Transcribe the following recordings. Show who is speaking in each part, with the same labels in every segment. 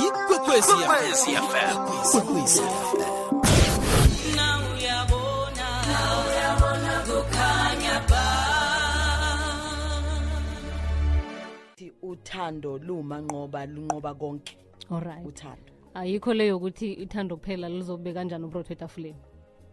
Speaker 1: E ikwekwezi fm Ikwekwezi FM.
Speaker 2: uthi uthando lumanqoba lunqoba konke
Speaker 3: olright
Speaker 2: uthando
Speaker 3: ayikho leyo ukuthi ithando kuphela lizobe kanjani uburotho etafuleni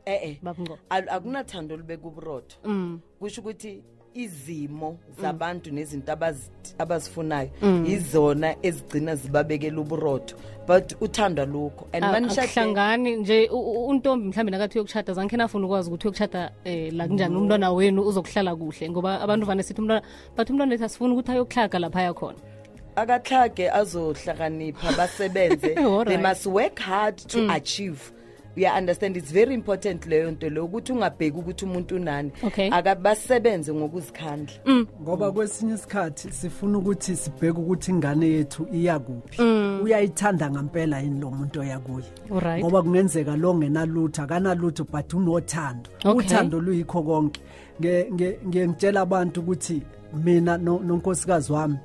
Speaker 2: eh eh
Speaker 3: babungoba
Speaker 2: al- akunathando libeka uburotho
Speaker 3: mm.
Speaker 2: kusho ukuthi izimo zabantu nezinto abazi- abazifunayo
Speaker 3: Mm.
Speaker 2: izona ezigcina zibabekela uburotho but uthando alukho and
Speaker 3: A-
Speaker 2: manishade
Speaker 3: Ah, akuhlangani nje u- u- untombi mhlawumbe nakathi uyokushada zange nafuna ukwazi ukuthi uyokushada um la kunjani umntwana wenu uzokuhlala kuhle ngoba abantu vane sithi umntwana but umntwana wethu asifuni ukuthi ayokuhlaga lapha yakhona
Speaker 2: akahlage azohlakanipha basebenze
Speaker 3: All
Speaker 2: they
Speaker 3: right. Mm.
Speaker 2: must work hard to achieve uya understand it's very important leyo nto leyo ukuthi ungabheki ukuthi umuntu unani
Speaker 3: Okay.
Speaker 2: akabasebenze ngokuzikhandla
Speaker 4: ngoba kwesinye isikhathi sifuna ukuthi sibheke ukuthi ingane yethu iya kuphi uyayithanda ngampela yini lo muntu oyakuye
Speaker 3: Mm. Alright.
Speaker 4: ngoba kungenzeka lo ngenalutho akanalutho but unothando
Speaker 3: Okay.
Speaker 4: uthando luyikho konke Nge- nge- ngiye ngitshela abantu ukuthi mina no- nonkosikazi wami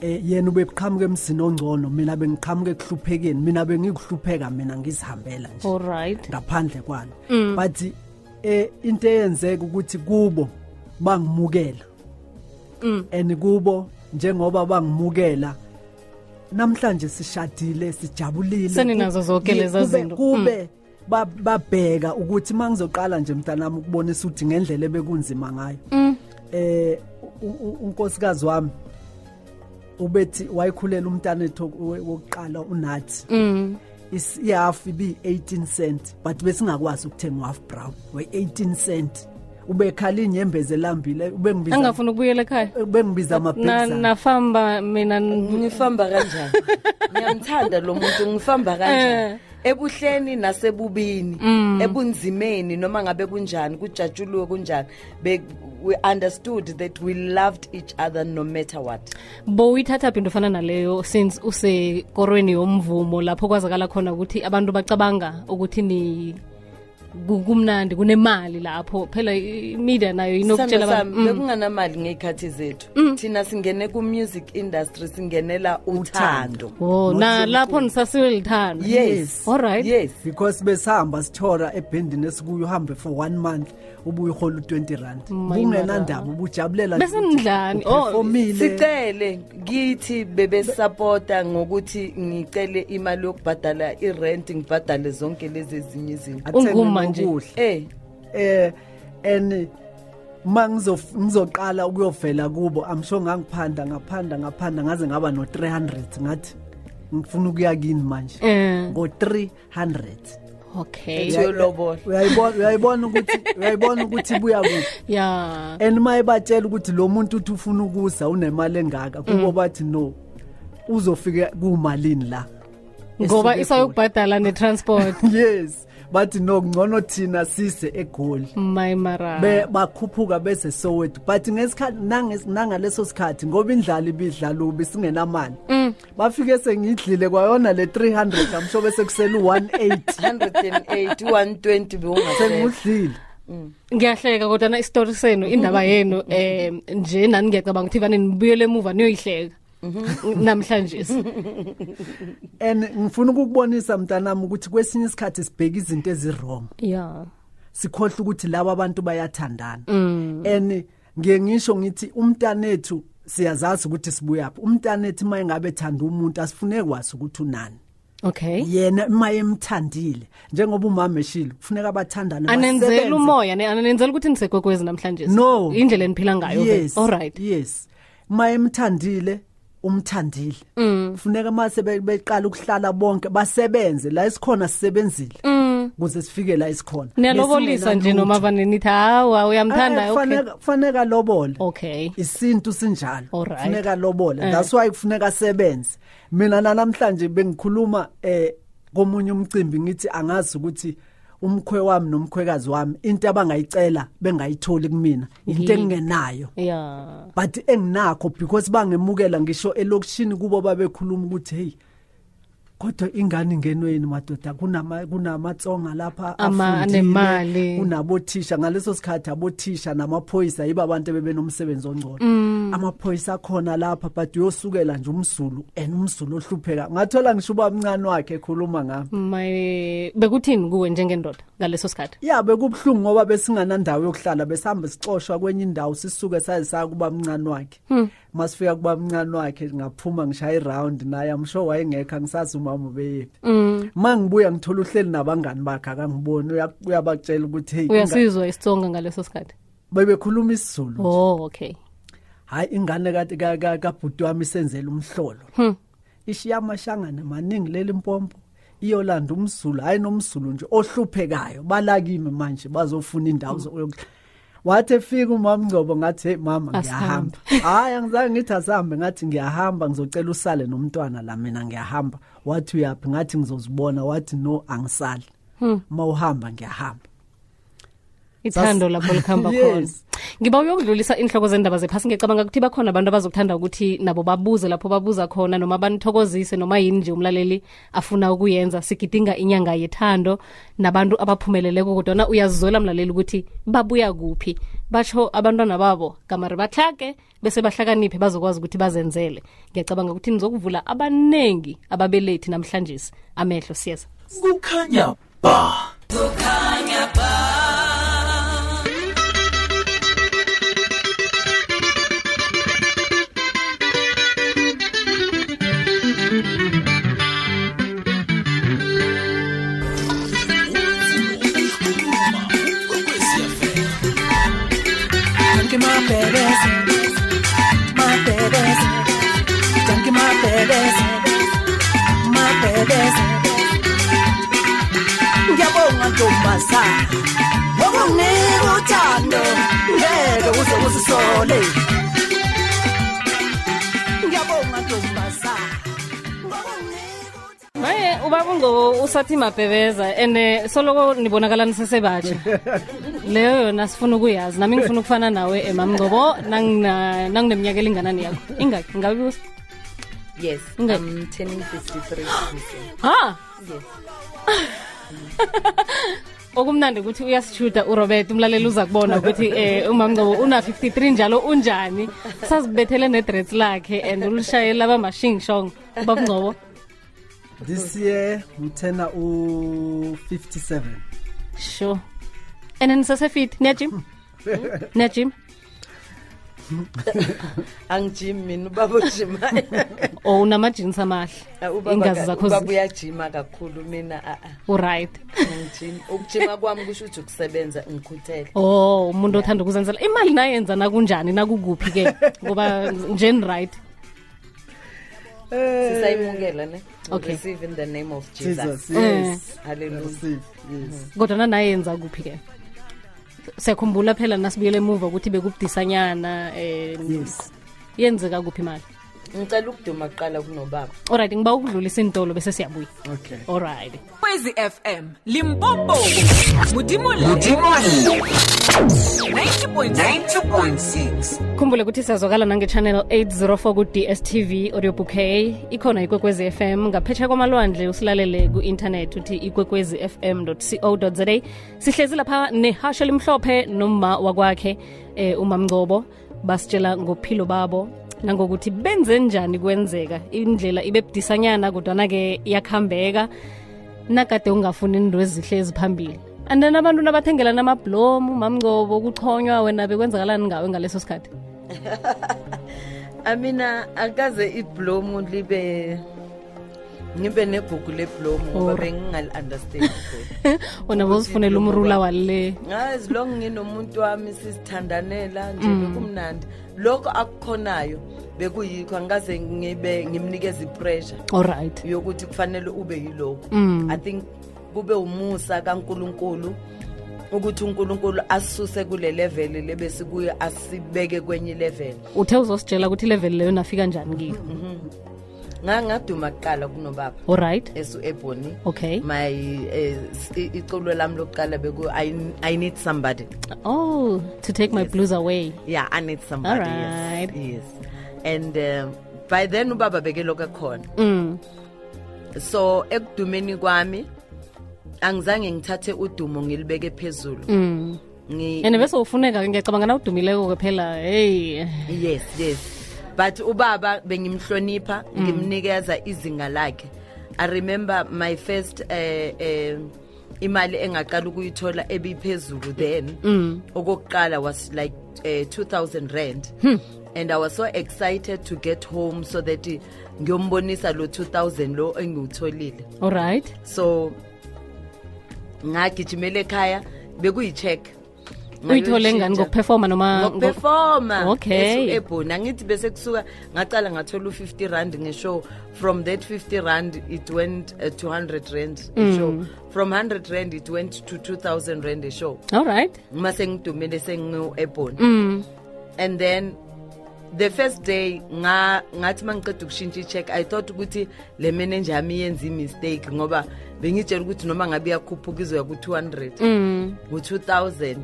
Speaker 4: Eh yena ubeqhamuka emzini ongcono mina bengiqhamuka ekuhluphekeni mina bengikuhlupheka mina ngizihambela nje
Speaker 3: olright
Speaker 4: ngaphandle kwalo
Speaker 3: Mm.
Speaker 4: but eh into eyenzeka ukuthi kubo bangimukela
Speaker 3: Mm.
Speaker 4: and kubo njengoba bangimukela namhlanje sishadile sijabulile
Speaker 3: Seninazo
Speaker 4: Ku-
Speaker 3: zonke
Speaker 4: ye-
Speaker 3: leza
Speaker 4: kube-
Speaker 3: zinto. Mm.
Speaker 4: kube ba- babheka ukuthi mangizoqala nje mntanami ukubonisa ukuthi ngendlela ebekunzima ngayo
Speaker 3: Mm.
Speaker 4: eh u- u- unkosikazi wami ubethi wayikhulela umntanethu wo- wokuqala unathi
Speaker 3: Mm.
Speaker 4: is- ihafu ibiyi-18 cent but besingakwazi ukuthenga uhalf brown we-18 cent ubekhala inyembezi elambile ubengibiza-
Speaker 3: angafuni ukubuyela ekhaya
Speaker 4: Eh, ubengibiza
Speaker 3: Na-
Speaker 4: amabhekzana
Speaker 3: nafamba mina n-
Speaker 2: ngifamba kanjani ngiyamthanda lo muntu ngifamba kanjani
Speaker 3: Eh. Mm.
Speaker 2: ebuhleni nasebubini ebunzimeni noma ngabe kunjani kujatshulwe kunjani be- we understood that we loved each other no matter what
Speaker 3: bo uyithatha phi into ofana naleyo since usekorweni yomvumo lapho kwazakala khona ukuthi abantu bacabanga ukuthi ni ku- kumnandi kunemali lapho phela i- i-media nayo inokutshela
Speaker 2: Sithandwa
Speaker 3: abantu
Speaker 2: sami,
Speaker 3: Mm.
Speaker 2: bekunganamali ngey'khathi zethu thina singene ku-music industry singenela uthando
Speaker 3: Oh, na
Speaker 4: Not
Speaker 3: lapho nisasiwe lithando
Speaker 2: yes
Speaker 3: Alright.
Speaker 2: yes
Speaker 4: because besihamba sithora ebhendini esikuyo uhambe for one month ubuye uhola u-20 rand
Speaker 3: My
Speaker 4: bungenandaba ubujabulela nje
Speaker 3: Bese
Speaker 4: ukuthi
Speaker 3: nidlani? Oh,
Speaker 4: uphefomile.
Speaker 2: sicele ngithi bebesapota ngokuthi ngicele imali yokubhadala irent ngibhadale zonke lezi ezinye izinto
Speaker 4: athenge
Speaker 3: Unguma nje.
Speaker 4: nokudla.
Speaker 2: eh
Speaker 4: eh and ma ngizof- ngizoqala ukuyovela kubo amsho ngangiphanda ngaphanda ngaphanda ngaze ngaba no-300 ngathi ngifuna ukuya kini manje
Speaker 3: Eh,
Speaker 4: ngo-300
Speaker 3: okay
Speaker 2: Yeah. Uyolobola.
Speaker 4: Uyayibona- uyayibona ukuthi uyayibona ukuthi ibuya kuphi
Speaker 3: ya
Speaker 4: and uma ebatshela ukuthi lo muntu uthi ufuna ukuza unemali
Speaker 3: Mm.
Speaker 4: engaka kubo bathi no uzofika kumalini la
Speaker 3: ngoba
Speaker 4: Esuke
Speaker 3: isayokubhadala ne-transport
Speaker 4: eGoli. yes bathi no ngcono thina sise egoli
Speaker 3: my mara
Speaker 4: be bakhuphuka bese Soweto but ngesikhathi nanges- nangaleso sikhathi ngoba indlala ibidlala ubi singenamali bafike sengidlile kwayona le 300 amsho bese kusela u180
Speaker 2: 108 120 bewungasekho
Speaker 4: sengudlile
Speaker 3: ngiyahleka kodwana isitori senu indaba
Speaker 2: Mhm.
Speaker 3: yenu um nje nani ngiyacabanga ukuthi vane nibuyele emuva niyoyihleka
Speaker 2: Mhm.
Speaker 3: namhlanje
Speaker 4: and ngifuna ukukubonisa mntanami ukuthi kwesinye isikhathi sibheka izinto ezirong
Speaker 3: ya
Speaker 4: sikhohle ukuthi laba abantu bayathandana and ngiye ngisho ngithi umntanethu siyazazi ukuthi sibuyaphi umntanethu uma engabe ethanda umuntu asifuneki kwazi ukuthi unani
Speaker 3: okay
Speaker 4: yena uma emthandile njengoba umama eshilo kufuneka bathandane
Speaker 3: anenzela
Speaker 4: basebenze.
Speaker 3: umoya ne- anenzela ukuthi nisekokwezi namhlanje
Speaker 4: no
Speaker 3: indlela eniphila ngayo
Speaker 4: yes
Speaker 3: all right
Speaker 4: yes uma emthandile umthandile
Speaker 3: Mm.
Speaker 4: kufuneka uma sebe- beqala ukuhlala bonke basebenze la esikhona sisebenzile kuze sifike la esikhona
Speaker 3: Mm. niyalobolisa nje
Speaker 4: Lesingenalutho.
Speaker 3: noma vane nithi hawa uyamthanda
Speaker 4: Eh,
Speaker 3: okay
Speaker 4: kufaneka- kufaneka lobole
Speaker 3: okay
Speaker 4: isintu sinjalo
Speaker 3: Alright.
Speaker 4: kufuneka lobole
Speaker 3: Eh.
Speaker 4: that's why kufuneka asebenze mina nanamhlanje bengikhuluma eh komunye umcimbi ngithi angazi ukuthi umkhwe wami nomkhwekazi wami into abangayicela bengayitholi kumina into
Speaker 3: Yini?
Speaker 4: engenayo
Speaker 3: ya
Speaker 4: but enginakho because bangemukela ngisho elokishini kubo babekhuluma ukuthi hey kodwa ingane ngenweni madoda kunama kunamatsonga lapha
Speaker 3: Ama-
Speaker 4: afundile,
Speaker 3: anemali.
Speaker 4: kunabothisha ngaleso sikhathi abothisha namaphoyisa yiba abantu bebenomsebenzi ongcono
Speaker 3: Mm.
Speaker 4: amaphoyisa akhona lapha but uyosukela nje umzulu and umzulu ohlupheka ngathola ngisho ubamncane wakhe ekhuluma ngami
Speaker 3: maye bekuthini kuwe njengendoda ngaleso sikhathi
Speaker 4: ya bekubuhlungu ngoba besinganandawo yokuhlala besihamba sicoshwa kwenye indawo sisuke saze saya kuba mncane wakhe masifika kuba mncane wakhe ngaphuma ngishaya irawundi naye amsho wayengekho angisazi umama ubeyephi ma ngibuya ngithola uhleli nabangani bakhe akangiboni uya- uyabatshela ukuthi hey inga-
Speaker 3: uyasizwa isitsonga ngaleso sikhathi
Speaker 4: bebekhuluma isizulu
Speaker 3: oh okay
Speaker 4: hayi ingane kati- ka- ka- kabhuti wami isenzela umhlolo ishiya amashangane maningi leli mpompo iyolanda umzulu hhayi nomzulu nje ohluphekayo balakimi manje bazofuna indawo zokuyokuhla wathi efika umamngcobo ngathi heyi mama ngiyahamba hhayi angizange ngithi asihambe ngathi ngiyahamba ngizocela usale nomntwana la mina ngiyahamba wathi uyaphi ngathi ngizozibona wathi no angisali ma uhamba ngiyahamba
Speaker 3: ithando
Speaker 4: Sas-
Speaker 3: lapho likuhamba khona
Speaker 4: Yes.
Speaker 3: ngiba uyokudlulisa inhloko zendaba zephasi ngiyacabanga ukuthi bakhona abantu abazokuthanda ukuthi nabo babuze lapho babuza khona noma banithokozise noma yini nje umlaleli afuna ukuyenza sigidinga inyanga yethando nabantu abaphumeleleko kodwana uyazizola mlaleli ukuthi babuya kuphi basho abantwana babo kamari bahlake bese bahlakaniphe bazokwazi ukuthi bazenzele ngiyacabanga ukuthi nizokuvula abanengi ababelethi namhlanje amehlo siyeza
Speaker 1: Kukhanya ba. Kukhanya
Speaker 5: Dunking my babies, my babies, dunking my babies, my babies. Ngiyabonga ntombazana, ngokunginika uthando, ngeke uze uzisole. Ngiyabonga ntombazana, ngokunginika uthando.
Speaker 3: Maye ubaba ungo usathi mabhebeza ene soloko nibonakala nisesebatsha leyo yona sifuna ukuyazi nami ngifuna ukufana nawe emamngcobo nangina- nangineminyaka elinganani yakho ingaki ngabe busa
Speaker 2: Yes,
Speaker 3: Okay.
Speaker 2: I'm turning 53 this year.
Speaker 3: ha
Speaker 2: Yes.
Speaker 3: okumnandi ukuthi uyasishuta urobert umlaleli uza kubona ukuthi um umamngcobo una-53 njalo unjani sazibethele nedrets lakhe and ulishayela abamashingshong ubabungcobo
Speaker 4: this year ngithena u-57
Speaker 3: sure and nisesefit niyajima niyajima
Speaker 2: angijimi mina ubaba ujima
Speaker 3: or Oh, unamajinsi amahle ingazi zakho
Speaker 2: Ah, ubaba uyajima kakhulu mina a-a
Speaker 3: uright
Speaker 2: angijimi ukujima kwami kusho ukuthi ukusebenza ngikhuthele
Speaker 3: oh umuntu othanda ukuzenzela imali nayenza nakunjani nakukuphi ke ngoba njeni right
Speaker 2: sisayimukela
Speaker 3: Eh.
Speaker 2: ne
Speaker 3: Okay.
Speaker 2: receive in the name of jesus
Speaker 4: jesus yes
Speaker 2: hallelujah
Speaker 4: Receive, yes.
Speaker 3: kodwa nanayenza kuphi ke siyakhumbula phela nasibuyele emuva ukuthi bekubudisanyana um
Speaker 4: yes
Speaker 3: yenzeka kuphi imali
Speaker 2: ngicela ukuduma kuqala kunobaba
Speaker 3: olright ngiba ukudlulisa intolo bese siyabuya
Speaker 4: okay
Speaker 3: olright
Speaker 6: kwezi fm limpopo modimola 90.9
Speaker 3: khumbule ukuthi siyazwakala nange-channel 804 ku-dstv audiobook a ikhona ikwekwezi fm ngaphetsha kwamalwandle usilalele ku-intanethi uthi ikwekwezi fm co za sihlezi lapha nehasha elimhlophe noma wakwakhe um umamngcobo basitshela ngophilo babo nangokuthi benze njani kwenzeka indlela ibe budisanyana kodwana-ke iyakuhambeka nakade ungafuni into ezihle eziphambili and then abantu nabathengela namabhlomu mamngcobo kuchonywa wena bekwenzakalani ngawe ngaleso sikhathi
Speaker 2: amina akaze iblomu libe ngibe negugu leblomu ngoba
Speaker 3: Or-
Speaker 2: bengingaliunderstand
Speaker 3: wena bozifunela umrula walile
Speaker 2: as long nginomuntu wami sisithandanela nje bekumnandi lokho akukhonayo bekuyikho angikaze ngibe ngimnikeze ipressure
Speaker 3: olright
Speaker 2: yokuthi kufanele ube yilokhu
Speaker 3: Mm.
Speaker 2: i think kube umusa kaNkuluNkulu ukuthi uNkulunkulu asuse kule level lebesikuye asibeke kwenye level
Speaker 3: uthe uzositshela ukuthi ileveli leyo nafika njani kiyo
Speaker 2: ngangaduma kuqala kunobaba
Speaker 3: olright
Speaker 2: esu ebony
Speaker 3: okay
Speaker 2: my eh, s- i- iculo lami lokuqala beku I, i need somebody
Speaker 3: oh to take my blues away
Speaker 2: yeah i need somebody
Speaker 3: Alright.
Speaker 2: yes, yes and um, by then ubaba beke lokho ekhona
Speaker 3: mm.
Speaker 2: so ekudumeni kwami angizange ngithathe udumo ngilibeke phezulu
Speaker 3: mm.
Speaker 2: Ngi-
Speaker 3: and bese ufuneka-ke ngiyacabanga na udumileko-ke phela heyi
Speaker 2: yes yes but ubaba bengimhlonipha
Speaker 3: Mm.
Speaker 2: ngimnikeza izinga lakhe i remember my first eh eh imali engaqala ukuyithola ebiphezulu then
Speaker 3: Mm.
Speaker 2: okokuqala was like eh, 2000 rand
Speaker 3: Hmm.
Speaker 2: and i was so excited to get home so that eh, ngiyombonisa lo 2000 lo engiwutholile
Speaker 3: all right
Speaker 2: so ngagijimela ekhaya bekuyi-check
Speaker 3: uyithole ngani ngokuphefoma noma ngo-
Speaker 2: ngokuperforma
Speaker 3: Okay.
Speaker 2: ebhoni angithi bese kusuka ngacala ngathola u-50 rand ngeshow from that 50 rand it went uh, to 100 rand eshow from 100 rand it went to 2000 rand eshow
Speaker 3: all right
Speaker 2: uma sengidumile sengiu-ebhoni mm. and then the first day nga- ngathi uma ngiqeda ukushintsha i-check i thought ukuthi le manaje yami iyenze i-mistake ngoba bengitshela ukuthi noma ngabe iyakhuphuka izoya ku-200 mm. ngu-2000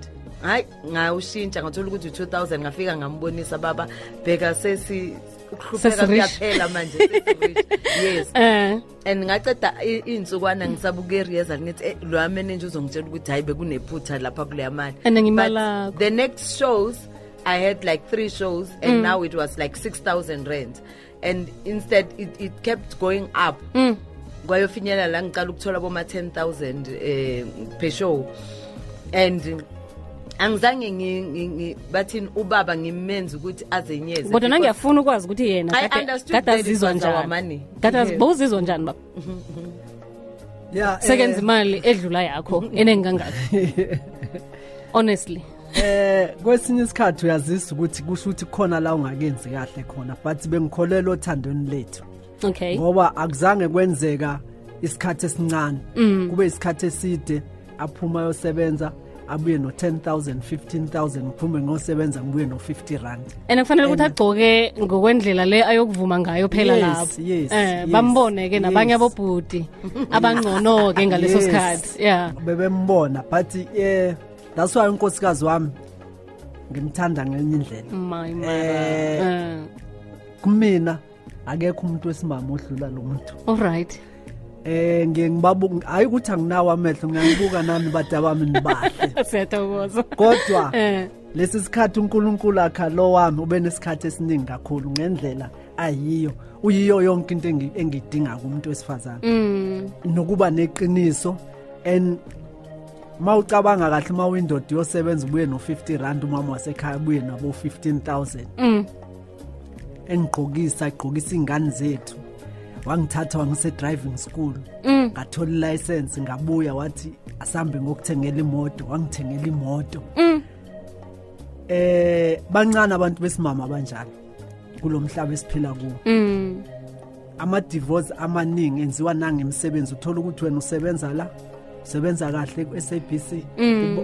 Speaker 2: hhayi ngawushintsha ngathola ukuthi u-2000 ngafika ngambonisa baba bheka sesi ukuhlupheka
Speaker 3: Sesirich.
Speaker 2: kuyaphela manje sesirich. yes
Speaker 3: um
Speaker 2: and ngaceda i- iy'nsukwana ngisabukeriyeza ngithi "Eh, loya manaje uzongitshela ukuthi hhayi bekunephutha lapha kuleya mali
Speaker 3: And ngimala-
Speaker 2: But the next shows i had like three shows
Speaker 3: Mm.
Speaker 2: and now it was like 6000 rand and instead it, it kept going up
Speaker 3: Mm.
Speaker 2: kwayofinyelela la ngiqala ukuthola boma-10 000 um per show and angizange ngi- ngi- ngi- bathini ubaba ngimenze ukuthi azenyeze
Speaker 3: kodwa
Speaker 2: because-
Speaker 3: nangiyafuna ukwazi ukuthi yena
Speaker 2: I
Speaker 3: kade-
Speaker 2: understood
Speaker 3: kade
Speaker 2: that it
Speaker 3: azizwa
Speaker 2: was our money.
Speaker 3: njani kade az-
Speaker 2: Yeah.
Speaker 3: bowuzizwa njani baba
Speaker 4: yeah
Speaker 3: sekenza
Speaker 4: eh,
Speaker 3: imali edlula yakho enengingangaki honestly
Speaker 4: eh kwesinye isikhathi uyazisa ukuthi kusho ukuthi khona la ungakenzi kahle khona but bengikholelwa othandweni lethu
Speaker 3: okay
Speaker 4: ngoba akuzange kwenzeka isikhathi esincane kube isikhathi eside aphuma yosebenza abuye no-10 000 15 000 ngiphume ngosebenza ngibuye no-50 rand
Speaker 3: and kufanele ukuthi agcoke ngokwendlela le ayokuvuma ngayo phela
Speaker 4: Yes,
Speaker 3: lapho
Speaker 4: yes,
Speaker 3: Eh,
Speaker 4: yes,
Speaker 3: bambone-ke nabanye
Speaker 4: yes.
Speaker 3: abobhudi abangcono-ke ngaleso
Speaker 4: Yes.
Speaker 3: sikhathi ya
Speaker 4: bebembona but eh that's why unkosikazi wami ngimthanda ngenye indlela
Speaker 3: my
Speaker 4: Eh.
Speaker 3: mara
Speaker 4: kumina akekho umuntu wesimama odlula lo muntu
Speaker 3: all right
Speaker 4: eh ngiye ngibabu hayi ukuthi anginawo amehlo ngiyangibuka nami badaba mina bahle
Speaker 3: siyathokoza
Speaker 4: kodwa
Speaker 3: Eh.
Speaker 4: lesi sikhathi uNkulunkulu akha lo wami ube nesikhathi esiningi kakhulu ngendlela ayiyo uyiyo yonke into engi- engidinga kumuntu wesifazane
Speaker 3: Mm.
Speaker 4: nokuba neqiniso and mawucabanga kahle mawindoda yosebenza ubuye no50 rand umama wasekhaya ubuye nabo 15000 engigqokisa igqokisa ingane zethu wangithatha wangise driving school ngathola license ngabuya wathi asambe ngokuthengela imoto wangithengela imoto eh bancane abantu besimama abanjalo kulomhlaba esiphila kuwo ama-divorce amaningi enziwa nangemisebenzi uthola ukuthi wena usebenza la usebenza kahle ku-sabc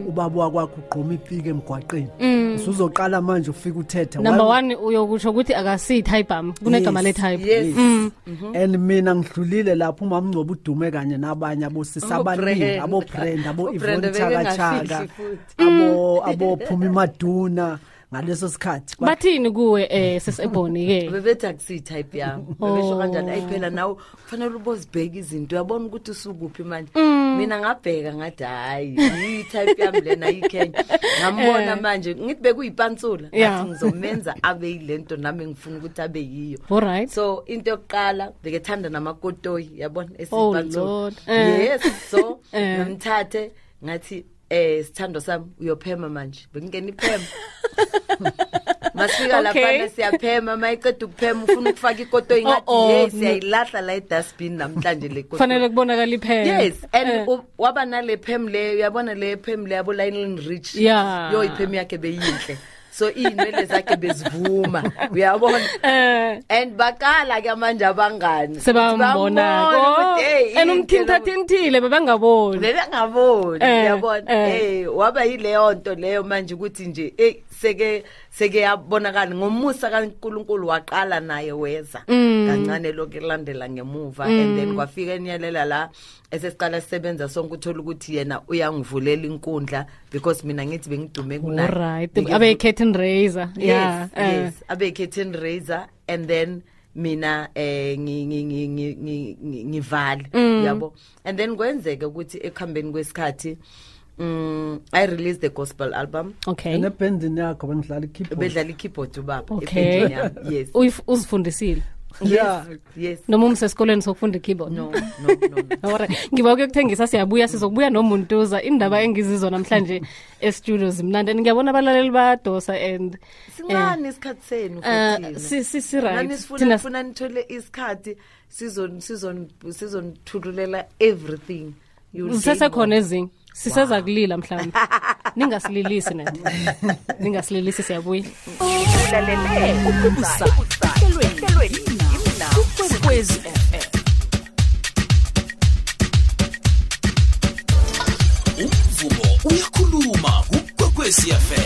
Speaker 4: ubaba wakwakho ugqoma ipiki emgwaqeni usuzoqala manje ufike uthetha
Speaker 3: number
Speaker 4: Why-
Speaker 3: one uyokutsho ukuthi akasiyi typam kunegama
Speaker 4: Yes,
Speaker 3: le-type
Speaker 2: yes. Mm-hmm.
Speaker 4: and mina ngidlulile lapho umama ngcobo udume kanye nabanye abosisi abaningi
Speaker 2: Brenda.
Speaker 4: abobrand
Speaker 2: UBrenda
Speaker 4: abo-ivon
Speaker 2: bekengafihli
Speaker 4: chakachaka
Speaker 2: futhi.
Speaker 4: abo- abophuma imaduna ngaleso sikhathi Kwa-
Speaker 3: bathini kuwe um sesebhoni-ke
Speaker 2: bebethi akusiyi-type yami bebesho kanjani ayi phela nawe kufanele ubozibheka izinto uyabona ukuthi usukuphi manje mina ngabheka ngathi hhayi iyi-type yami lena yikhenya ngambona manje ngithi bekuyipansula
Speaker 3: Yeah.
Speaker 2: ngathi ngizomenza abe yile nto nami ngifuna ukuthi abe yiyo
Speaker 3: all right
Speaker 2: so into yokuqala bekethanda namakotoyi yabona
Speaker 3: Oh,
Speaker 2: esiyipansula.
Speaker 3: Lord. Eh.
Speaker 2: yes so
Speaker 3: Eh.
Speaker 2: ngimthathe ngathi eh sithando sami uyophema manje bengingena iphema masifika
Speaker 3: Okay.
Speaker 2: laphana siyaphema mayiqeda ukuphema ufuna ukufaka ikotoyi ngathi
Speaker 3: Oh, oh,
Speaker 2: ye
Speaker 3: no.
Speaker 2: siyayilahla la edustbin namhlanje le kotoyi."
Speaker 3: kufanele kubonakala iphela
Speaker 2: yes and
Speaker 3: Eh.
Speaker 2: u- waba nale phem leyo uyabona le phem leyo yabo Lionel Rich
Speaker 3: Yeah.
Speaker 2: yo iphem yakhe beyinhle so iy'nwele zakhe bezivuma uyabona
Speaker 3: Eh,
Speaker 2: and bakala ke manje abangani
Speaker 3: sebambonako Oh, and umthintathinthile bebangaboni
Speaker 2: bebengaboni
Speaker 3: Eh,
Speaker 2: uyabona
Speaker 3: eh.
Speaker 2: eh waba yileyo nto leyo manje ukuthi nje eh seke seke yabonakala ngomusa kaNkuluNkulu waqala naye weza
Speaker 3: Mm.
Speaker 2: kancane lokho elandela ngemuva and then kwafika enyelela la esesiqala sisebenza sonke uthola ukuthi yena uyangivulela inkundla because mina ngithi bengidume kunaye
Speaker 3: right
Speaker 2: Ngike-
Speaker 3: abe-catin raiser
Speaker 2: yes yes abe curtain raiser and then mina eh ngi- ngi- ngi- ngi- ngi- ngi- ngivale
Speaker 3: Mm.
Speaker 2: yabo and then kwenzeke ukuthi ekuhambeni kwesikhathi mm i released the gospel album
Speaker 3: okay
Speaker 4: nebhendini yakho bengidlala i-keyboard.
Speaker 2: bedlala i-keyboard ubaba
Speaker 3: okay Oh,
Speaker 2: ebandini yami. yes
Speaker 3: Uyif- uzifundisile
Speaker 4: Yeah.
Speaker 2: yes yes
Speaker 3: noma umsesikolweni sokufunda i-keyboard
Speaker 2: no no no
Speaker 3: Alright. ngiba kuyokuthengisa siyabuya sizokubuya nomuntuza indaba
Speaker 2: Mm.
Speaker 3: engizizo namhlanje estudio zimnandi and ngiyabona abalaleli bayadosa and
Speaker 2: sincane isikhathi senu
Speaker 3: Ah,
Speaker 2: futhi
Speaker 3: Eh. si- si- si- right.
Speaker 2: nani
Speaker 3: Thina
Speaker 2: sifuna
Speaker 3: s-
Speaker 2: sifuna nithole isikhathi sizon sizon sizonithululela everything You'll
Speaker 3: zisesekhona
Speaker 2: gain
Speaker 3: ezinye siseza kulila mhlawumbe ningasililisi net ningasililisi siyabuya
Speaker 6: Ukwekwezi FM.
Speaker 1: umvumo uyakhuluma kukwekwecfm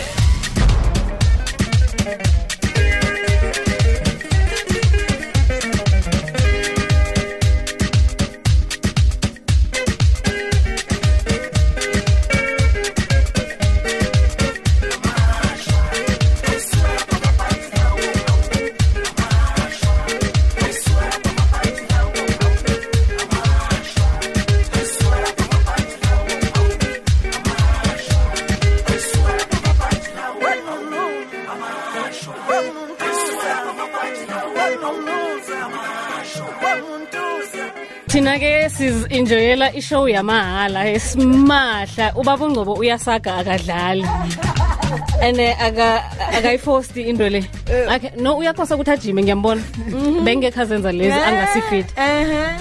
Speaker 3: thina-ke sizi-enjoyela ishow yamahhala esimahla ubaba ungcobo uyasaga akadlali and eh, aka- akayifosti into le Akhe- no uyakhosa ukuthi ajime ngiyambona bengekho azenza lezi angasifiti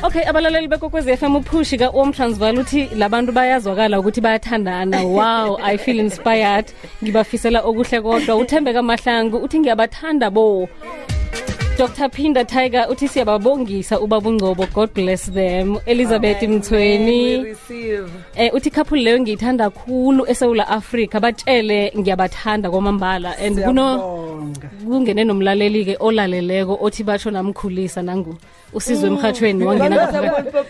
Speaker 3: okay abalaleli bekokwezi FM uphushi ka-om transval uthi labantu bayazwakala ukuthi bayathandana wow i feel inspired ngibafisela okuhle kodwa uthembeka mahlangu uthi ngiyabathanda bo dr pinda tiger uthi siyababongisa ubabungcobo god bless them elizabeth mthweni
Speaker 2: we receive
Speaker 3: Eh uthi couple leyo ngiyithanda kakhulu eSouth Africa batshele ngiyabathanda kwamambala and kuno
Speaker 4: Siyabonga.
Speaker 3: kungene nomlaleli ke olaleleko othi basho namkhulisa nangu usizwe emhathweni wangena ngapha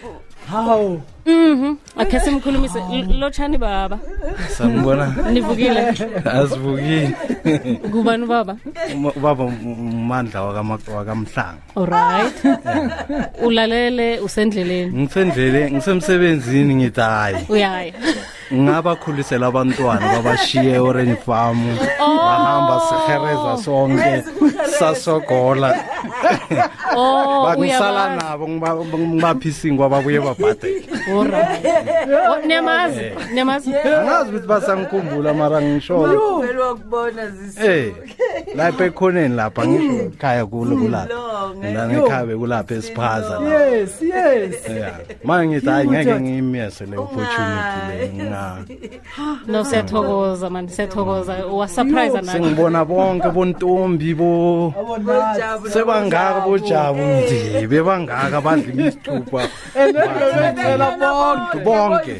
Speaker 4: hawu
Speaker 3: mhm akhe simkhulumise L- lotshani baba
Speaker 7: sanibona
Speaker 3: nivukile
Speaker 7: asivukile
Speaker 3: kubani baba
Speaker 7: Uma- ubaba umandla wakamhlanga
Speaker 3: alright ulalele usendleleni
Speaker 7: ngisendlele ngisemsebenzini ngithi hayi
Speaker 3: uyaya
Speaker 7: ngingabakhulisela abantwana babashiye orange farm bahamba sihereza sonke sasogola
Speaker 3: oh
Speaker 7: bangisala nabo ngiba- ngibaphisinkwa babuye babhadela
Speaker 3: alright Oh, niyamazi niyamazi
Speaker 7: angazi ukuthi basangikhumbula mara ngisholo
Speaker 2: vele wakubona zisi
Speaker 7: Eh lapha ekhoneni lapha ngisho ekhaya kulo kulapha la ekhaya bekulapha esiphaza la
Speaker 4: yes yes
Speaker 7: yeah manje ngithi hayi ngeke
Speaker 4: Ngiyakuthatha.
Speaker 7: ngiyimiyese le opportunity le nga
Speaker 3: no siyathokoza mani siyathokoza wasurprise nami
Speaker 7: sengibona bonke bontombi bo
Speaker 4: abona
Speaker 7: sebangaka bojabu mdi bebangaka badla isithupha
Speaker 4: bebecela bonke
Speaker 7: bonke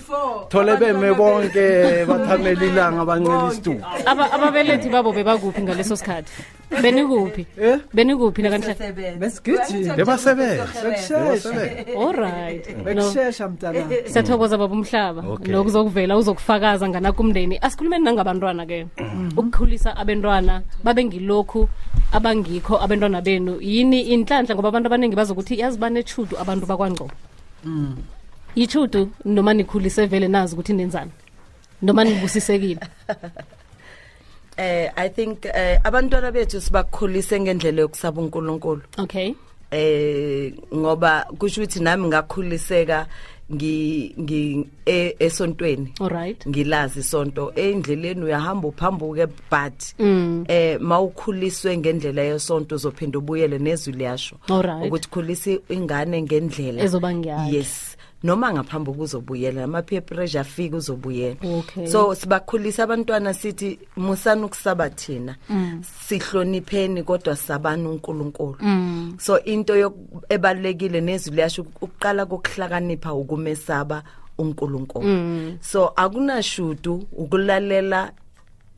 Speaker 7: thole beme bonke bathamela ilanga bancela isithupha
Speaker 3: Aba- ababelethi babo bebakuphi ngaleso sikhathi benikuphi benikuphi nakanhla
Speaker 4: besigijima
Speaker 7: bebasebenza
Speaker 4: bekushesha
Speaker 7: bebasebenza
Speaker 3: allright no
Speaker 4: bekushesha mntanam
Speaker 3: siyathokoza baba umhlaba
Speaker 7: Okay.
Speaker 3: lokuzokuvela uzokufakaza nganakumndeni asikhulumeni nangabantwana-ke ukukhulisa abentwana babe ngilokhu abangikho abentwana benu yini inhlanhla ngoba abantu abaningi bazokuthi yazi banechudu abantu bakwangcobo yichudu noma nikhulise vele nazi ukuthi nenzani noma nibusisekile
Speaker 2: eh i think eh abantwana bethu sibakhulise ngendlela yokusaba uNkulunkulu
Speaker 3: okay
Speaker 2: eh ngoba kusho ukuthi nami ngakhuliseka ngi ngi e- esontweni
Speaker 3: allright
Speaker 2: ngilazi isonto endleleni uyahamba uphambuke but
Speaker 3: Mm.
Speaker 2: eh mawukhuliswe ngendlela yesonto uzophinda ubuyele nezwi liyasho
Speaker 3: Alright.
Speaker 2: ukuthi khulisa ingane ngendlela
Speaker 3: Ezoba ngeyakhe.
Speaker 2: yes noma ngaphambi kuzobuyela ama peer pressure afika uzobuyela
Speaker 3: Okay.
Speaker 2: so sibakhulisa abantwana sithi musani ukusaba thina sihlonipheni kodwa sabani uNkulunkulu so into yoku- ebalekile nezwi liyasho ukuqala kokuhlakanipha ukumesaba uNkulunkulu so akunashudu ukulalela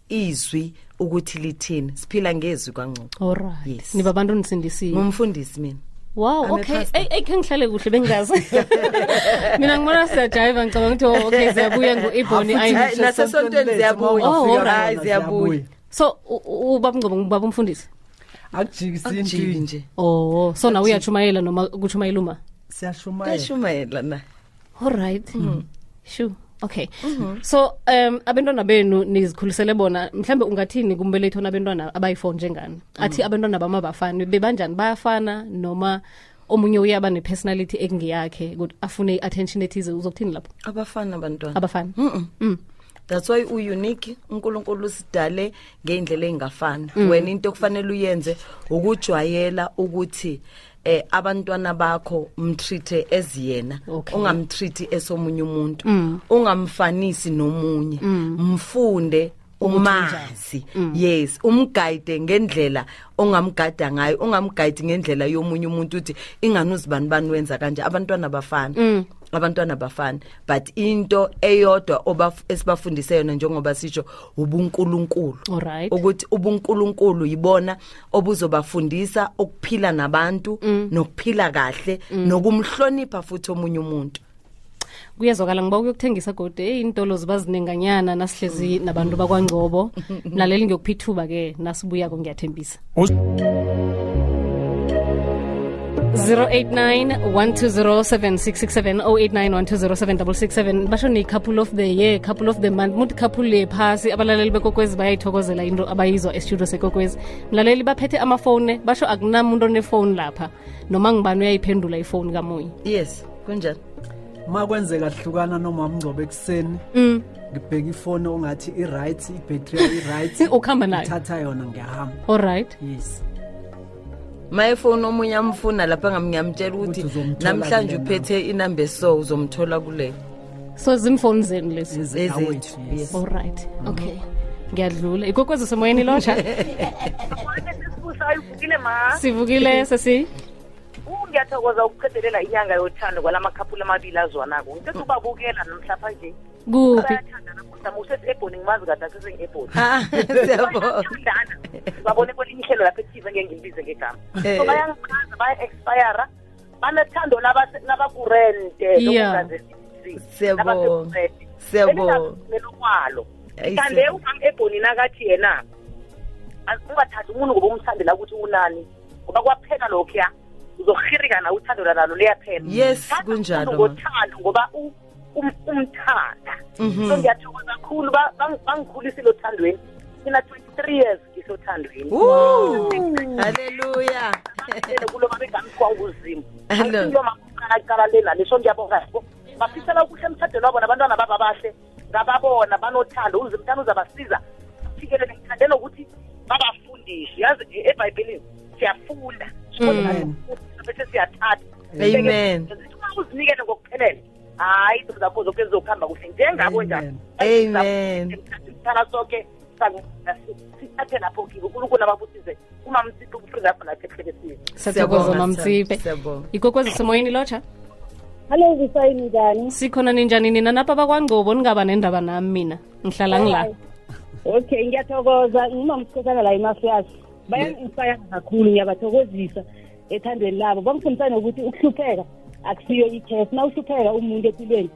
Speaker 2: izwi ukuthi lithini siphila ngezwi kwangcono
Speaker 3: Mm. allright
Speaker 2: Yes.
Speaker 3: niba abantu
Speaker 2: Mm.
Speaker 3: nisindisile
Speaker 2: ngumfundisi mina
Speaker 3: wow
Speaker 2: I'm a
Speaker 3: okay
Speaker 2: pastor.
Speaker 3: eyi eyi, khe ngihlale kuhle bengingazi mina ngibona siyajayiva ngicabanga ukuthi oh, okay ziyabuya ngu-ebony
Speaker 2: Hayi,
Speaker 3: Island.
Speaker 2: nasesontweni ziyabuya.
Speaker 3: Oh, alright.
Speaker 2: Hayi, ziyabuya.
Speaker 3: so u- u- ubaba mngcobo ngubaba umfundisi
Speaker 4: akujikisi
Speaker 2: Akujiki
Speaker 4: intwini
Speaker 2: nje
Speaker 3: oh so nawe uyachumayela noma kuchumayela uma
Speaker 4: siyashumayela
Speaker 2: kashumayela na
Speaker 3: alright Mm-hmm. sure okay so um abantwana benu nizikhulisele bona mhlambe ungathini kumbelethi ona abantwana abayi-four njengani athi abantwana bama bafani bebanjani bayafana noma omunye uyaba ne-personality ekungeyakhe ukuthi afune i-attention ethize uzokuthini lapho
Speaker 2: Mm-hmm. abafana abantwana
Speaker 3: abafani Mm.
Speaker 2: that's why u-unique unkulunkulu sidale ngey'ndlela ey'ngafani
Speaker 3: Mm.
Speaker 2: wena into okufanele uyenze ukujwayela ukuthi eh abantwana bakho mtreat-e eziyena
Speaker 3: Okay.
Speaker 2: ungamtreat esomunye umuntu ungamfanisi nomunye mfunde umazi yes umgayide ngendlela ongamgada ngayo ungamgayidi ngendlela yomunye umuntu uthi ingani uzibani bani wenza kanje abantwana bafana abantwana bafana but into eyodwa obaf- esibafundise yona njengoba sisho ubunkulunkulu
Speaker 3: Alright.
Speaker 2: ukuthi ubunkulunkulu yibona obuzobafundisa ukuphila nabantu
Speaker 4: Mm.
Speaker 2: nokuphila kahle nokumhlonipha futhi omunye umuntu
Speaker 3: kuyezwakala ngiba ukuyokuthengisa gode eyi intolo ziba zinenganyana nasihlezi nabantu bakwangcobo naleli ngiyokupha ithuba-ke nasibuyako ngiyathembisa
Speaker 7: Us-
Speaker 3: 089 basho ni couple of the year couple of the month muthi couple le phasi abalaleli bekokwezi bayayithokozela into abayizwa estudio sekokwezi mlaleli baphethe amafone basho akunamuntu onefoni lapha noma ngibani uyayiphendula ifoni kamoya
Speaker 2: yes kunjani
Speaker 4: ma kwenzeka sihlukana noma mngcobo ekuseni ngibheka ifoni ongathi i-right ibhacteria i-right
Speaker 3: Ukuhamba nayo.
Speaker 4: ngithatha yona ngiyahamba
Speaker 3: allright
Speaker 4: yes
Speaker 2: mayefoni omunye amfuna lapha ngami ngiyamtshela ukuthi
Speaker 4: Ukuthi uzomthola kule
Speaker 2: namhlanje
Speaker 4: namba.
Speaker 2: uphethe inamba eso uzomthola kuleyo
Speaker 3: so zimfoni zenu lezi
Speaker 4: ezedawethu
Speaker 2: Ezethu,
Speaker 4: yes
Speaker 3: allright
Speaker 2: Uh-huh.
Speaker 3: okay ngiyadlula ikwekwezi semoyeni lonja
Speaker 8: sisibusayo uvukile ma
Speaker 3: sivukile sesi
Speaker 8: Uh, ngiyathokoza ukuqedelela inyanga yothando kwalamakhaphula amabili azwanako ngithetha ubabukela namhlapha nje
Speaker 3: kuphi
Speaker 8: bayathandana mhlawumbe usethi ebhoni ngimazi kade asesengibhoni
Speaker 2: Ah, siyabonga
Speaker 8: bayathandana babone kwelinye ihlelo lapha ethive engeke ngilibize ngegama
Speaker 2: Eh.
Speaker 8: so bayangichaza baya-expira banothando labase- labakurente
Speaker 3: Yeah.
Speaker 2: Siyabonga. Siyabonga.
Speaker 8: kwalo
Speaker 2: Ayi,
Speaker 8: kande
Speaker 2: siyabonga.
Speaker 8: umam ebhoni nakathi yena az- ungathathi umuntu ngoba umthandela ukuthi unani ngoba kwaphela lokhuya uzohirika na uthando lalo liyaphela
Speaker 2: Yes,
Speaker 8: Thatha
Speaker 2: kunjalo,
Speaker 8: umuntu
Speaker 2: ma. Mhm.
Speaker 8: ngothando ngoba u- um- umthanda so ngiyathokoza kakhulu ba- bang- bangikhulisile othandweni mina 23 years ngisothandweni
Speaker 2: haleluya
Speaker 8: Ngibambelele kulo babegamkwa uzimu
Speaker 2: Hello.
Speaker 8: asilomaqalaqala lena leso ngiyabonga bo bafisela ukuhle emthadweni wabo nabantwana baba bahle ngababona banothando uzimthanda uzabasiza fikelele ngithandela ukuthi babafundishe yazi e- ebhayibhelini siyafunda
Speaker 3: Mm,
Speaker 4: Amen.
Speaker 8: bese siyathatha
Speaker 2: Amen.
Speaker 8: uma uzinikele ngokuphelele hayi izinto zakho zonke zizokuhamba kuhle njengabo njani
Speaker 4: Amen.
Speaker 2: Amen.
Speaker 8: sithana soke sithathe lapho kibo unkulunkulu ababusize uma msiphi ukuphringa apho nathi ehlekesini
Speaker 3: sathokoza
Speaker 2: Siyabonga,
Speaker 3: mamtsipe
Speaker 2: siyabonga.
Speaker 3: ikokwezi semoyeni lotsha
Speaker 9: Hello Zisay njani?
Speaker 3: sikhona ninjani nina napha bakwangcobo ningaba nendaba nami mina ngihlala ngila
Speaker 9: Okay ngiyathokoza ngimamsikhosana la eMafiyasi. Bayanginspire kakhulu ngiyabathokozisa ethandweni labo. Bangifundisa nokuthi ukuhlupheka akusiyo ikhefu. Nawuhlupheka umuntu empilweni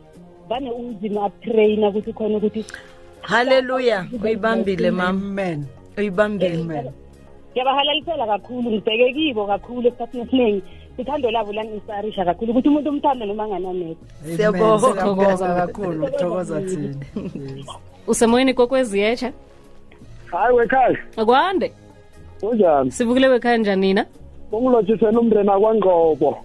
Speaker 9: vane uzima atrain ukuthi khona ukuthi
Speaker 2: haleluya uyibambile mama
Speaker 4: amen
Speaker 2: uyibambile
Speaker 4: amen
Speaker 9: ngiyabahalalisela kakhulu ngibheke kibo kakhulu esikhathini esiningi. Ithando labo langi-inspirisha kakhulu ukuthi umuntu umthanda noma anganamehlo.
Speaker 4: Amen.
Speaker 2: Siyabonga.
Speaker 4: Siyabonga kakhulu thokoza thina Yes.
Speaker 3: usemoyeni ikokwezi yetsha
Speaker 10: hayi wekhaya
Speaker 3: akwande
Speaker 10: kunjani
Speaker 3: sivukile wekhaya njani nina
Speaker 10: ungilotshisela umndeni akwangqobo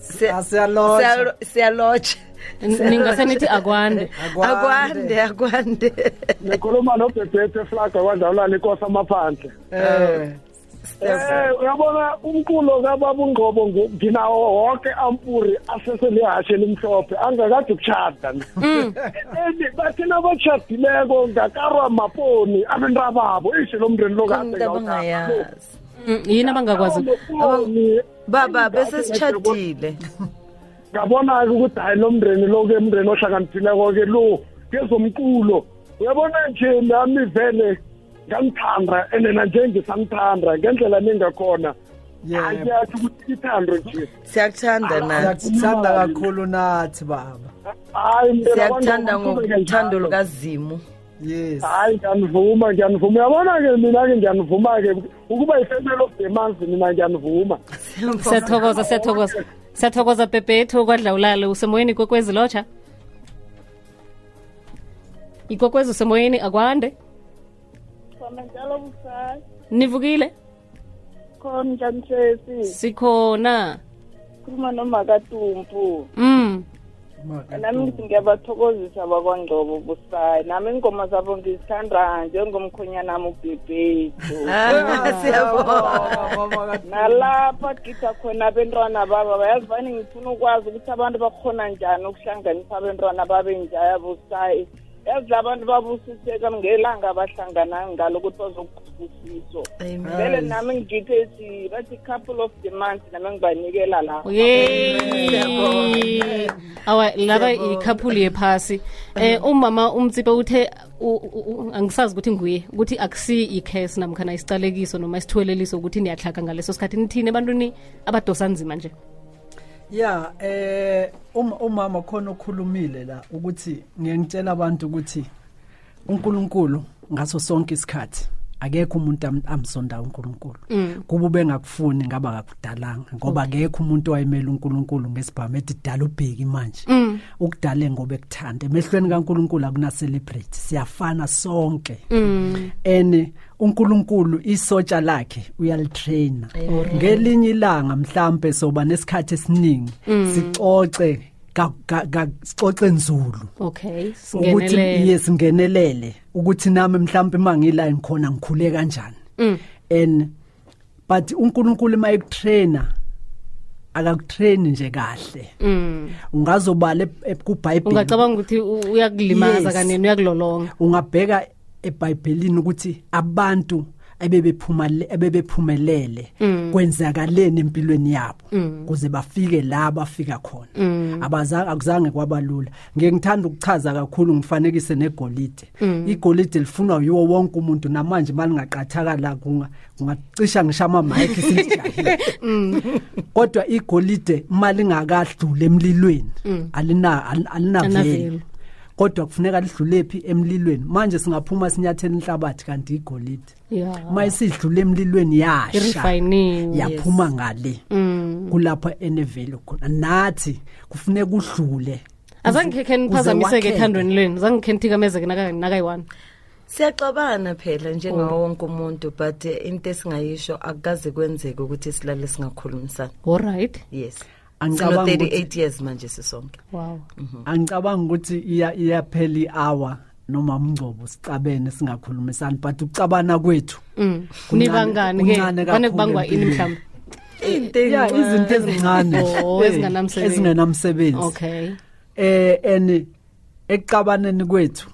Speaker 2: Siya-
Speaker 4: Asiyalotsha.
Speaker 2: siyalo- siyalotsha
Speaker 3: N- ningase nithi akwande
Speaker 2: akwande
Speaker 4: Akwande.
Speaker 2: akwande
Speaker 10: ngikhuluma nobhebhethe eflaga kwandawulana inkosi amaphandle
Speaker 4: Eh,
Speaker 10: Eh, uyabona umqulo kababa ungqobo ngu- nginawo wonke ampuri aseselihashe elimhlophe angakade ukushada and bathina abashadileko ngakarwa maponi abenta babo ishe lo mndeni lokade
Speaker 2: into abangayazi
Speaker 3: Mm, yini abangakwazi
Speaker 2: baba bese sitshadile
Speaker 10: ngabona-ke ukuthi hayi lo mndeni lo-ke mndeni ohlakaniphileko-ke lo ngezomculo uyabona nje nami vele ngangithanda and nanje ngisamthanda ngendlela ningakhona
Speaker 4: yebo.
Speaker 10: angiyathi ukuthi ithando nje
Speaker 2: siyakuthanda nathi
Speaker 4: siyakuthanda kakhulu nathi baba
Speaker 10: hayi mntwana,
Speaker 2: siyakuthanda
Speaker 10: abantu
Speaker 2: ngokuthando
Speaker 10: njalo.
Speaker 2: lukazimu
Speaker 4: yes
Speaker 10: hayi ngiyanivuma ngiyanivuma uyabona-ke mina-ke ngiyanivuma-ke ukuba i-family of the month mina ngiyanivuma
Speaker 3: siyathokoza siyathokoza siyathokoza bhebhethu kwadlawulale usemoyeni ikwekwezi lotsha ikwekwezi usemoyeni akwande
Speaker 11: kwamanjalo busayi
Speaker 3: nivukile
Speaker 11: khona njani sesi
Speaker 3: sikhona
Speaker 11: khuluma nomakatumpu
Speaker 3: mm
Speaker 11: nami ngithi ngiyabathokozisa bakwangcobo busayi nami ingoma zabo ngizithanda njengomkhonyanami ubhebhethu
Speaker 2: Ah,
Speaker 11: siyabonga nalapha gida khona abentwana baba bayazi vane ngifuna ukwazi ukuthi abantu bakhona njani ukuhlanganisa abentwana babe njaya busayi yazi labantu babusiseka ngelanga abahlangana ngalo ukuthi bazokubusiso vele nami ngithe si bathi couple of the month nami ngibanikela la
Speaker 3: Yey. awa laba ikhaphuli yephasi um umama umtsipe uthe u- u- u- angisazi ukuthi nguye ukuthi akusi ikhesi namkhana isicalekiso noma isithuweleliso ukuthi niyahlaka ngaleso sikhathi nithini ebantwini abadosa nzima nje
Speaker 4: ya eh um- umama khona okhulumile la ukuthi ngiyengitshela abantu ukuthi uNkulunkulu ngaso sonke isikhathi akekho umuntu am- amsondayo uNkulunkulu
Speaker 5: Mm.
Speaker 4: kuba ubengakufuni ngaba akakudalanga ngoba akekho umuntu owayemela uNkulunkulu ngesibhamu ethi dala ubheki manje
Speaker 5: Mm.
Speaker 4: ukudale ngoba ekuthanda emehlweni kaNkulunkulu akuna celebrate siyafana sonke
Speaker 5: Mm.
Speaker 4: ene uNkulunkulu isotsha lakhe uyalitraina
Speaker 5: Amen.
Speaker 4: ngelinye ilanga mhlambe soba nesikhathi esiningi
Speaker 5: Mm.
Speaker 4: sicoxe ka- ka- ka- sicoxe nzulu
Speaker 3: okay
Speaker 4: ukuthi
Speaker 3: singenelele
Speaker 4: yesingenelele ukuthi nami mhlambe mangila ngikhona ngikhule kanjani
Speaker 3: Mm.
Speaker 4: and but uNkulunkulu mayekutraina akakutraini nje kahle
Speaker 3: Mm.
Speaker 4: ungazobala eb- eb- kubhayibheli
Speaker 3: ungacabanga ukuthi u- uyakulimaza
Speaker 4: Yes.
Speaker 3: kanini uyakulolonga
Speaker 4: ungabheka ebhayibhelini ukuthi abantu ebebephumalele ebebephumelele
Speaker 3: Mm.
Speaker 4: kwenzakaleni empilweni yabo
Speaker 3: Mm.
Speaker 4: kuze bafike la bafika khona
Speaker 3: Mm.
Speaker 4: abazange akuzange kwabalula ngeke ngithanda ukuchaza kakhulu ngifanekise negolide
Speaker 3: Mm.
Speaker 4: igolide lifunwa yiwo wonke umuntu namanje malingaqathakala kunga kungacisha ngisho amamayikhi silijahile
Speaker 3: Mm.
Speaker 4: kodwa igolide malingakadluli emlilweni
Speaker 5: Mm.
Speaker 4: alina al- alinavelo
Speaker 5: Alinavelo.
Speaker 4: kodwa kufuneka lidlule phi emlilweni manje singaphuma sinyathela inhlabathi kanti igolide
Speaker 3: ya
Speaker 4: uma isidlule emlilweni yasha
Speaker 3: irefayiniwe
Speaker 4: yaphuma ngale
Speaker 3: Mm.
Speaker 4: kulapha enevelo khona nathi kufuneka udlule
Speaker 3: azange khe khe niphazamiseke ethandweni lwenu zange khe nithikamezeke naka- nakayi-one
Speaker 2: siyaxabana phela njengawo wonke umuntu but eh, into esingayisho akukaze kwenzeke ukuthi silale singakhulumisana
Speaker 3: allright
Speaker 2: yes
Speaker 4: Angicabangi
Speaker 2: sino-38
Speaker 4: ukuthi-
Speaker 2: years manje sisonke
Speaker 3: wow
Speaker 4: angicabanga ukuthi iya- iyaphela i-hour noma mngcobo sicabene singakhulumisani but ukucabana kwethu
Speaker 3: Mm.
Speaker 4: kuncane-
Speaker 3: nibangani-ke
Speaker 4: kuncane
Speaker 3: fane
Speaker 4: kakhulu
Speaker 3: kubangwa ini
Speaker 4: empilweni.
Speaker 3: mhlawumbe
Speaker 2: into
Speaker 4: Ya, izinto ezincane
Speaker 3: Oh,
Speaker 4: Eh,
Speaker 3: ezinganamsebenzi.
Speaker 4: ezingenamsebenzi
Speaker 3: okay
Speaker 4: eh and ekucabaneni kwethu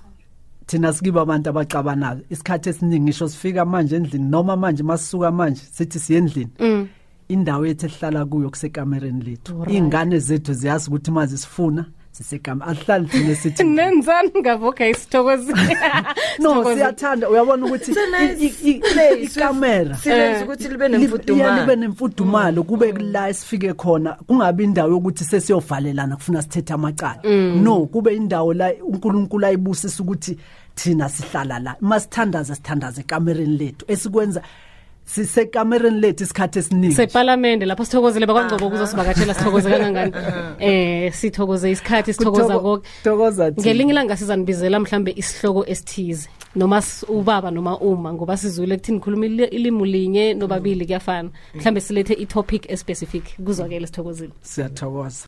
Speaker 4: thina sikiba abantu abacabanayo isikhathi esiningi ngisho sifika manje endlini noma manje masisuka manje sithi siye endlini
Speaker 3: Mm.
Speaker 4: indawo yethu esihlala kuyo kusekamereni lethu
Speaker 3: Alright.
Speaker 4: iy'ngane zethu ziyazi ukuthi uma zisifuna zisekam asihlali thina esithi
Speaker 3: nenzani ngabo okay sithokozile
Speaker 4: no siyathanda uyabona ukuthi i- i- i- le ikamera
Speaker 2: silenze ukuthi libe
Speaker 4: Lib-
Speaker 2: nemfudumalo.
Speaker 4: ya, libe nemfudumalo kube la esifike khona kungabi indawo yokuthi sesiyovalelana kufuna sithethe amacala
Speaker 5: Mm.
Speaker 4: no kube indawo la unkulunkulu ayibusisa ukuthi thina sihlala la uma sithandaza sithandaza ekamereni lethu esikwenza sisekamereni lethu isikhathi esiningi
Speaker 3: sepalamende lapho sithokozele bakwangcobo ukuzosivakatshela sithokoze kangangani um sithokoze isikhathi sithokoza
Speaker 4: Kutho-
Speaker 3: koke
Speaker 4: thokoza thina.
Speaker 3: ngelinye ilanga sizanibizela mhlambe isihloko esithize noma s- ubaba noma uma ngoba sizwile kuthini khuluma ili- ilimu linye nobabili kuyafana mhlambe silethe i-topic especific kuzwakele sithokozile
Speaker 4: siyathokoza